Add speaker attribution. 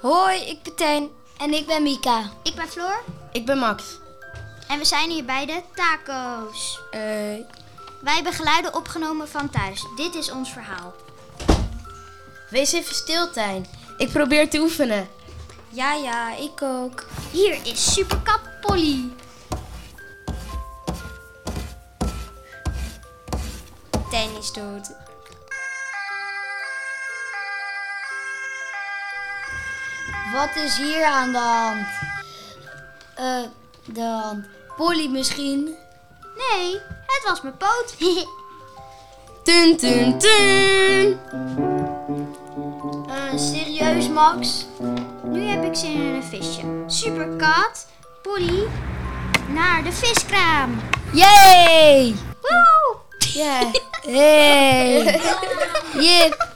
Speaker 1: Hoi, ik ben Tijn.
Speaker 2: En ik ben Mika.
Speaker 3: Ik ben Floor
Speaker 4: Ik ben Max.
Speaker 3: en we zijn hier bij de taco's.
Speaker 1: Eh,
Speaker 3: Wij hebben geluiden opgenomen van thuis. Dit is ons verhaal.
Speaker 4: Wees even stil, Tijn. Ik probeer te oefenen.
Speaker 1: ja, ja, ik ook.
Speaker 3: Hier is superkat Polly.
Speaker 1: Tijn is dood.
Speaker 2: Wat is hier aan de hand? Eh, de hand. Polly misschien?
Speaker 3: Nee, het was mijn poot.
Speaker 4: Tun, tun, tun.
Speaker 2: Eh, serieus, Max?
Speaker 3: nu heb ik zin in een visje. Superkat Polly naar de viskraam.
Speaker 2: Yay!
Speaker 3: Woe!
Speaker 4: Ja.
Speaker 2: Hey! Jip,